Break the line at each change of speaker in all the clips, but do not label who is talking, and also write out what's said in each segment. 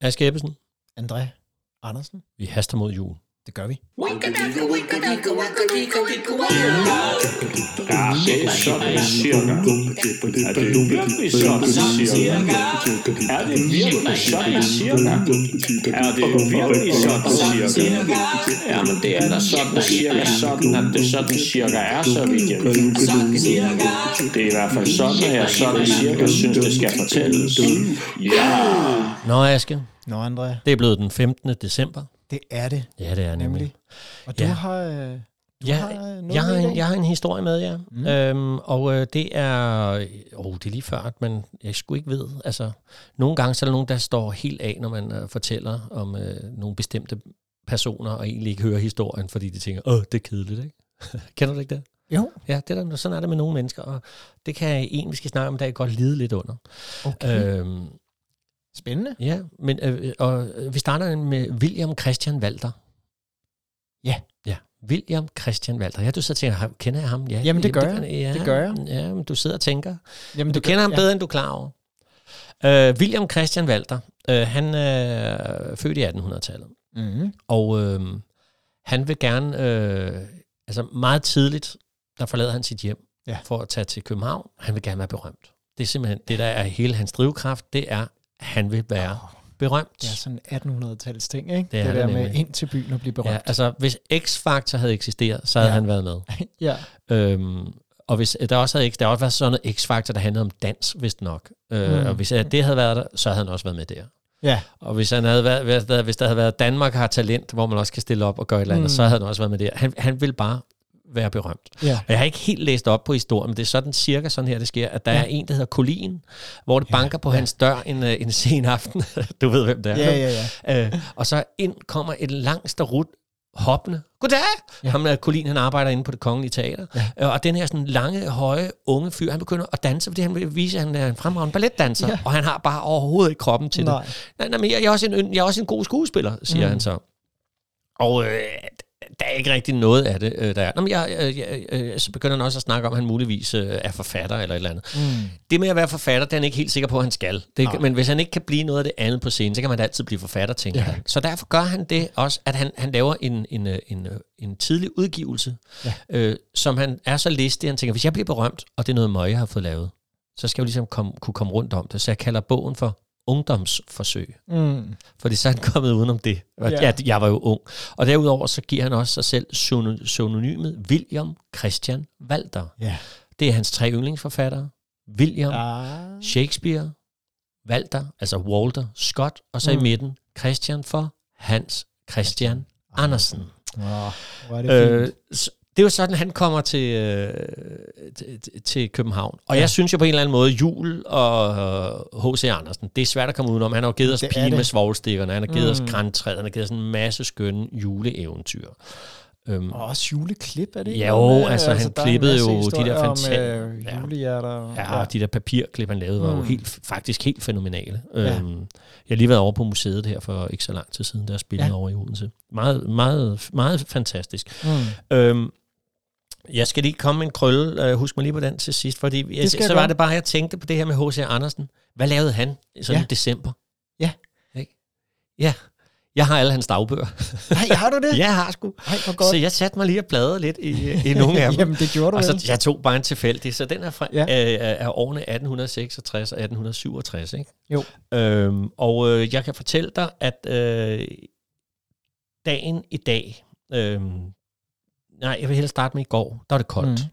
Aske Ebbesen,
André Andersen.
vi haster mod jul.
Det gør vi.
Det er i hvert fald sådan, at jeg sådan cirka synes, det skal fortælles. Ja!
Nå, Aske,
Nå, André,
det er blevet den 15. december.
det er det
Ja, det er nemlig.
nemlig. Og du
Ja.
har... Øh, du
Ja,
har øh, noget
Jeg har,
med i
en,
dag.
jeg har en historie med, ja. Mm. Øhm, og øh, det er... Oh, det er lige før, at man... Jeg skulle ikke ved. Altså, nogle gange så er der nogen, der står helt af, når man øh, fortæller om øh, nogle bestemte personer, og egentlig ikke hører historien, fordi de tænker, åh, det er kedeligt, ikke? Kender du ikke det?
Jo,
Ja, det er der, sådan er det med nogle mennesker, og det kan en, vi skal snakke om i dag, godt lide lidt under.
okay. Øh.
Øhm,
Spændende.
ja, men øh, og, øh, vi starter med William Christian Walter.
Ja.
Ja, William Christian Walter. Ja, du sidder og tænker, "Ham- kender jeg ham? Ja,
Jamen, det gør
jeg. Ja,
Det gør jeg.
Ja, men du sidder og tænker.
Jamen,
Men du
det gør-
kender ham
ja.
bedre, end du er klar over. Øh, William Christian Walter, øh, han er født i 1800-tallet.
Mm-hmm.
Og øh, han vil gerne, øh, altså meget tidligt, der forlader han sit hjem
Ja.
ja. for at tage til København. Han vil gerne være berømt. Det er simpelthen, det der er hele hans drivkraft, det er, han vil være
Oh,
berømt.
det er sådan 1800-tals ting, ikke?
Det er
det
det
der med
nemlig.
ind til byen og blive
ja,
berømt.
altså hvis X-Factor havde eksisteret, så havde
Ja.
ja. han været med.
Ja.
Øhm, og hvis der også havde, der havde også været sådan noget X-faktor, der handlede om dans, vist nok. Øh,
Mm.
mm. Og hvis øh, det havde været der, så havde han også været med der.
Ja.
Og hvis, han havde været, hvis, der, hvis der havde været Danmark har talent, hvor man også kan stille op og gøre et eller andet,
Mm.
mm. så havde han også været med der. Han, han ville bare være berømt.
Ja.
Og jeg har ikke helt læst op på historien, men det er sådan cirka sådan her, det sker, at der
Ja.
ja. er en, der hedder Colin, hvor det
Ja,
ja. banker på
ja.
ja. hans dør en, øh, en sen aften. du ved, hvem det er.
Ja, ja, ja.
Øh, og så ind kommer et langt starut hoppende. Goddag!
Ja.
Ja. Ham der Colin, han arbejder inde på det kongelige teater. Ja. Og den her sådan lange, høje, unge fyr, han begynder at danse, fordi han vil vise, at han er en fremragende balletdanser.
Ja.
Ja. Og han har bare overhovedet ikke kroppen til
Nej.
det. Nej, nej, men jeg, jeg, er også en, ynd- jeg er også en god skuespiller, siger
Mm.
mm. han så. Og øh, der er ikke rigtig noget af det, øh, der er. Nå, men jeg, øh, jeg, øh, så begynder han også at snakke om, at han muligvis øh, er forfatter eller et eller andet.
Mm.
Det med at være forfatter, det er han ikke helt sikker på, at han skal. Det,
Nej.
men hvis han ikke kan blive noget af det andet på scenen, så kan man da altid blive forfatter, tænker
Ja.
ja. han. Så derfor gør han det også, at han, han laver en, en, øh, en, øh, en tidlig udgivelse,
Ja.
ja. øh, som han er så listig, han tænker, hvis jeg bliver berømt, og det er noget møg, jeg har fået lavet, så skal jeg jo ligesom kom, kunne komme rundt om det. Så jeg kalder bogen for ungdomsforsøg.
Mm.
Fordi så er han kommet udenom det. Og
Ja.
ja. jeg, jeg var jo ung. Og derudover så giver han også sig selv pseudo- pseudonymet William Christian Walter.
Ja.
Det er hans tre yndlingsforfattere. William
Ah.
Shakespeare, Walter, altså Walter Scott, og så mm.
Mm.
i midten Christian for Hans Christian Andersen.
Åh, hvor er det fint.
Øh, s- det er jo sådan, han kommer til, øh, til- til- til København. Og ja. jeg synes jo på en eller anden måde, Jul og øh, H.C. Andersen, det er svært at komme udenom. Han har jo givet os
Det er
pigen
det.
med svoglstikkerne, han har givet mm.
Mm.
os grantræet, han har givet os en masse skønne juleeventyr. Øhm,
Og også juleklip, er det ikke?
Jo,
noget med?
altså, han
der er en
klippede
masse
jo de
historier
der
Om, øh,
fantastiske- ja.
julehjerter. og-
Ja, og de der papirklip, han lavede, var jo
Mm.
helt, faktisk helt fænomenale.
Ja.
Ja. Øhm, jeg har lige været over på museet her for ikke så lang tid siden, der jeg spillede
Ja.
ja. over i Odense. Meget, meget, meget fantastisk.
Mm.
Øhm, jeg skal lige komme med en krølle, øh, husk mig lige på den til sidst, fordi jeg,
skal jeg
så var
gøre.
det bare, jeg tænkte på det her med H.C. Andersen. Hvad lavede han sådan
Ja.
ja. i december?
Ja.
Ikke? Ja, jeg har alle hans dagbøger.
Nej, har du det?
jeg har sgu.
Nej, hvor godt.
Så jeg satte mig lige og bladrede lidt i, i nogle af dem.
Jamen, det gjorde du
Altså,
vel.
jeg tog bare en tilfældig, så den er fra
Ja.
ja. øh, er årene 1866 og 1867, ikke?
Jo.
Øhm, og øh, jeg kan fortælle dig, at øh, dagen i dag, øh, nej, jeg vil hellere starte med i går, der var det koldt.
Mm.
Mm.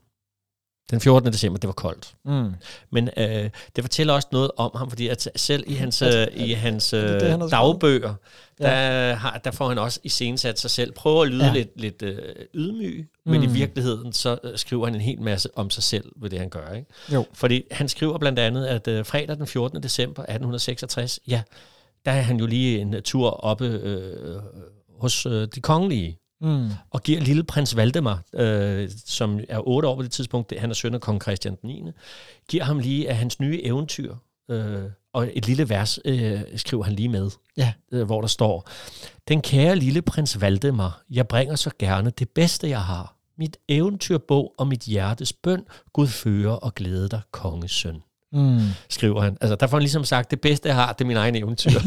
Den 14. december, det var koldt.
Mm.
Men øh, det fortæller også noget om ham, fordi at selv i hans, øh, i hans øh,
det det, han har skrevet?
dagbøger,
Ja.
der, har, der får han også iscenesat sig selv. Prøver at lyde
Ja.
ja. lidt, lidt øh, ydmyg, men i
Mm.
virkeligheden så øh, skriver han en hel masse om sig selv ved det, han gør. Ikke?
Jo.
Fordi han skriver blandt andet, at øh, fredag den 14. december 1866, ja, der er han jo lige en tur oppe øh, hos øh, de kongelige
Mm.
og giver lille prins Valdemar, øh, som er otte år på det tidspunkt, det- han er søn af kong Christian den 9., giver ham lige af hans nye eventyr, øh, og et lille vers øh, skriver han lige med,
Ja.
øh, hvor der står, Den kære lille prins Valdemar, jeg bringer så gerne det bedste, jeg har. Mit eventyrbog og mit hjertes bøn, Gud fører og glæde dig, kongesøn.
Mm.
skriver han. Altså, der får han ligesom sagt, det bedste jeg har, det er min egen eventyr.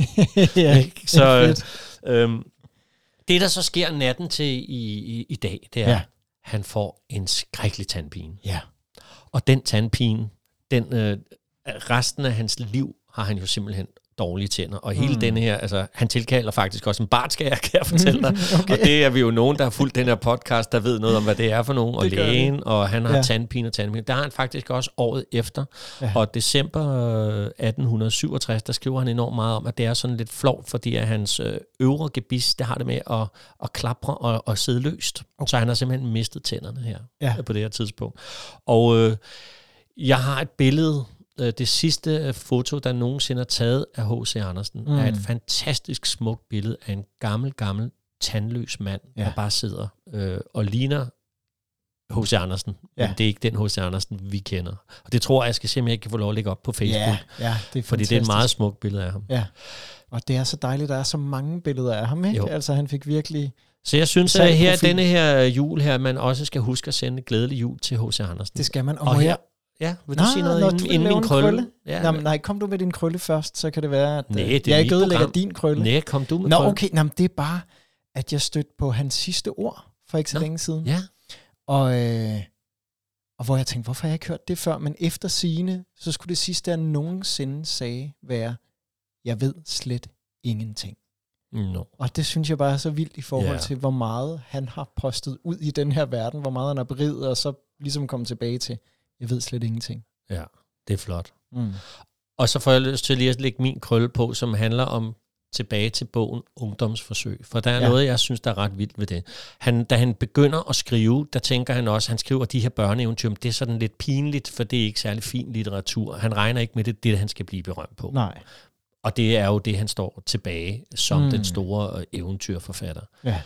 ja,
Ikke? Så
fedt.
øh, øhm, det, der så sker natten til i, i, i dag, det er,
Ja.
ja. han får en skrækkelig tandpine.
Ja.
Og den tandpine, den, øh, resten af hans liv har han jo simpelthen dårlige tænder. Og hele mm. den her, altså, han tilkalder faktisk også en bartskærer, kan jeg fortælle dig. okay. Og det er vi jo nogen, der har fulgt den her podcast, der ved noget om, hvad det er for nogen, og
Det gør vi.
lægen, og han har
Ja.
ja. tandpine og tandpine. Der har han faktisk også året efter.
Ja.
Ja. Og december øh, 1867, der skriver han enormt meget om, at det er sådan lidt flovt, fordi at hans øh, øvre gebis, det har det med at, at klapre og, og sidde løst. Okay. Så han har simpelthen mistet tænderne her
Ja.
ja. på det her tidspunkt. Og øh, jeg har et billede, øh, det sidste øh, foto, der nogensinde er taget af H.C. Andersen, mm. er et fantastisk smukt billede af en gammel, gammel, tandløs mand,
Ja.
ja. der bare sidder øh, og ligner H.C. Andersen. Ja.
Ja.
Men det er ikke den H.C. Andersen, vi kender. Og det tror jeg, jeg skal se, om jeg ikke kan få lov at lægge op på Facebook.
Ja, ja, det
Fordi
er fantastisk.
det er et meget smukt billede af ham.
Ja. Og det er så dejligt, der er så mange billeder af ham, ikke? Jo.
Jo.
Altså, han fik virkelig...
Så jeg synes,
Sand
at her
profil.
denne her øh, jul her, man også skal huske at sende glædelig jul til H.C. Andersen.
Det skal man. Og,
Og
må
her-
jeg...
Ja, vil du
Nå,
sige noget
når
inden,
du vil
inden
lave
min
en
krølle?
krølle?
Ja,
Nå, men nej, kom du med din krølle først, så kan det være, at øh,
Næ, det er
jeg
mit
ikke ødelægger
program.
din krølle.
Nej, kom du med
Nå,
krølle.
okay. Nå, men det er bare, at jeg stødte på hans sidste ord for ikke så
Nå,
længe siden.
Ja,
Og, øh, og hvor jeg tænkte, hvorfor har jeg ikke hørt det før? Men efter sigende, så skulle det sidste, jeg nogensinde sagde, være, jeg ved slet ingenting.
no.
Og det synes jeg bare er så vildt i forhold
Ja.
til, hvor meget han har postet ud i den her verden, hvor meget han har beriget, og så ligesom kommet tilbage til, jeg ved slet ingenting.
ja, det er flot.
Mm.
Og så får jeg lyst til lige at lægge min krølle på, som handler om tilbage til bogen Ungdomsforsøg. For der er
Ja.
ja. noget, jeg synes, der er ret vildt ved det. Han, da han begynder at skrive, der tænker han også, han skriver de her børneeventyr, men det er sådan lidt pinligt, for det er ikke særlig fin litteratur. Han regner ikke med det, det er det, han skal blive berømt på.
Nej.
Og det er jo det, han står tilbage som
Mm.
mm. den store øh, eventyrforfatter.
Ja.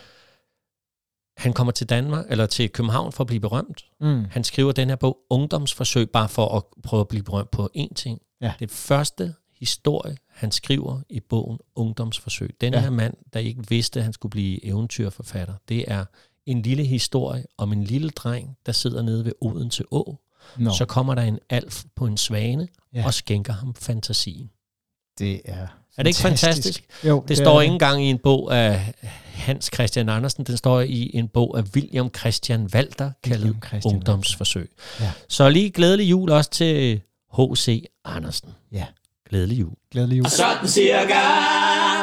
Han kommer til Danmark, eller til København for at blive berømt.
Mm.
Han skriver den her bog, Ungdomsforsøg, bare for at prøve at blive berømt på én ting.
Ja.
Det første historie, han skriver i bogen Ungdomsforsøg. Den
Ja.
ja. her mand, der ikke vidste, at han skulle blive eventyrforfatter, det er en lille historie om en lille dreng, der sidder nede ved Odense Å.
No.
Så kommer der en alf på en svane
Ja.
ja. og skænker ham fantasien.
det er
Er det ikke fantastisk?
Jo,
Det står ikke engang i en bog af Hans Christian Andersen, den står i en bog af William Christian Walter, kaldet
Christian
Ungdomsforsøg.
Ja.
Ja. Så lige glædelig jul også til H.C. Andersen.
Ja.
Glædelig jul.
Glædelig jul.
Sådan cirka.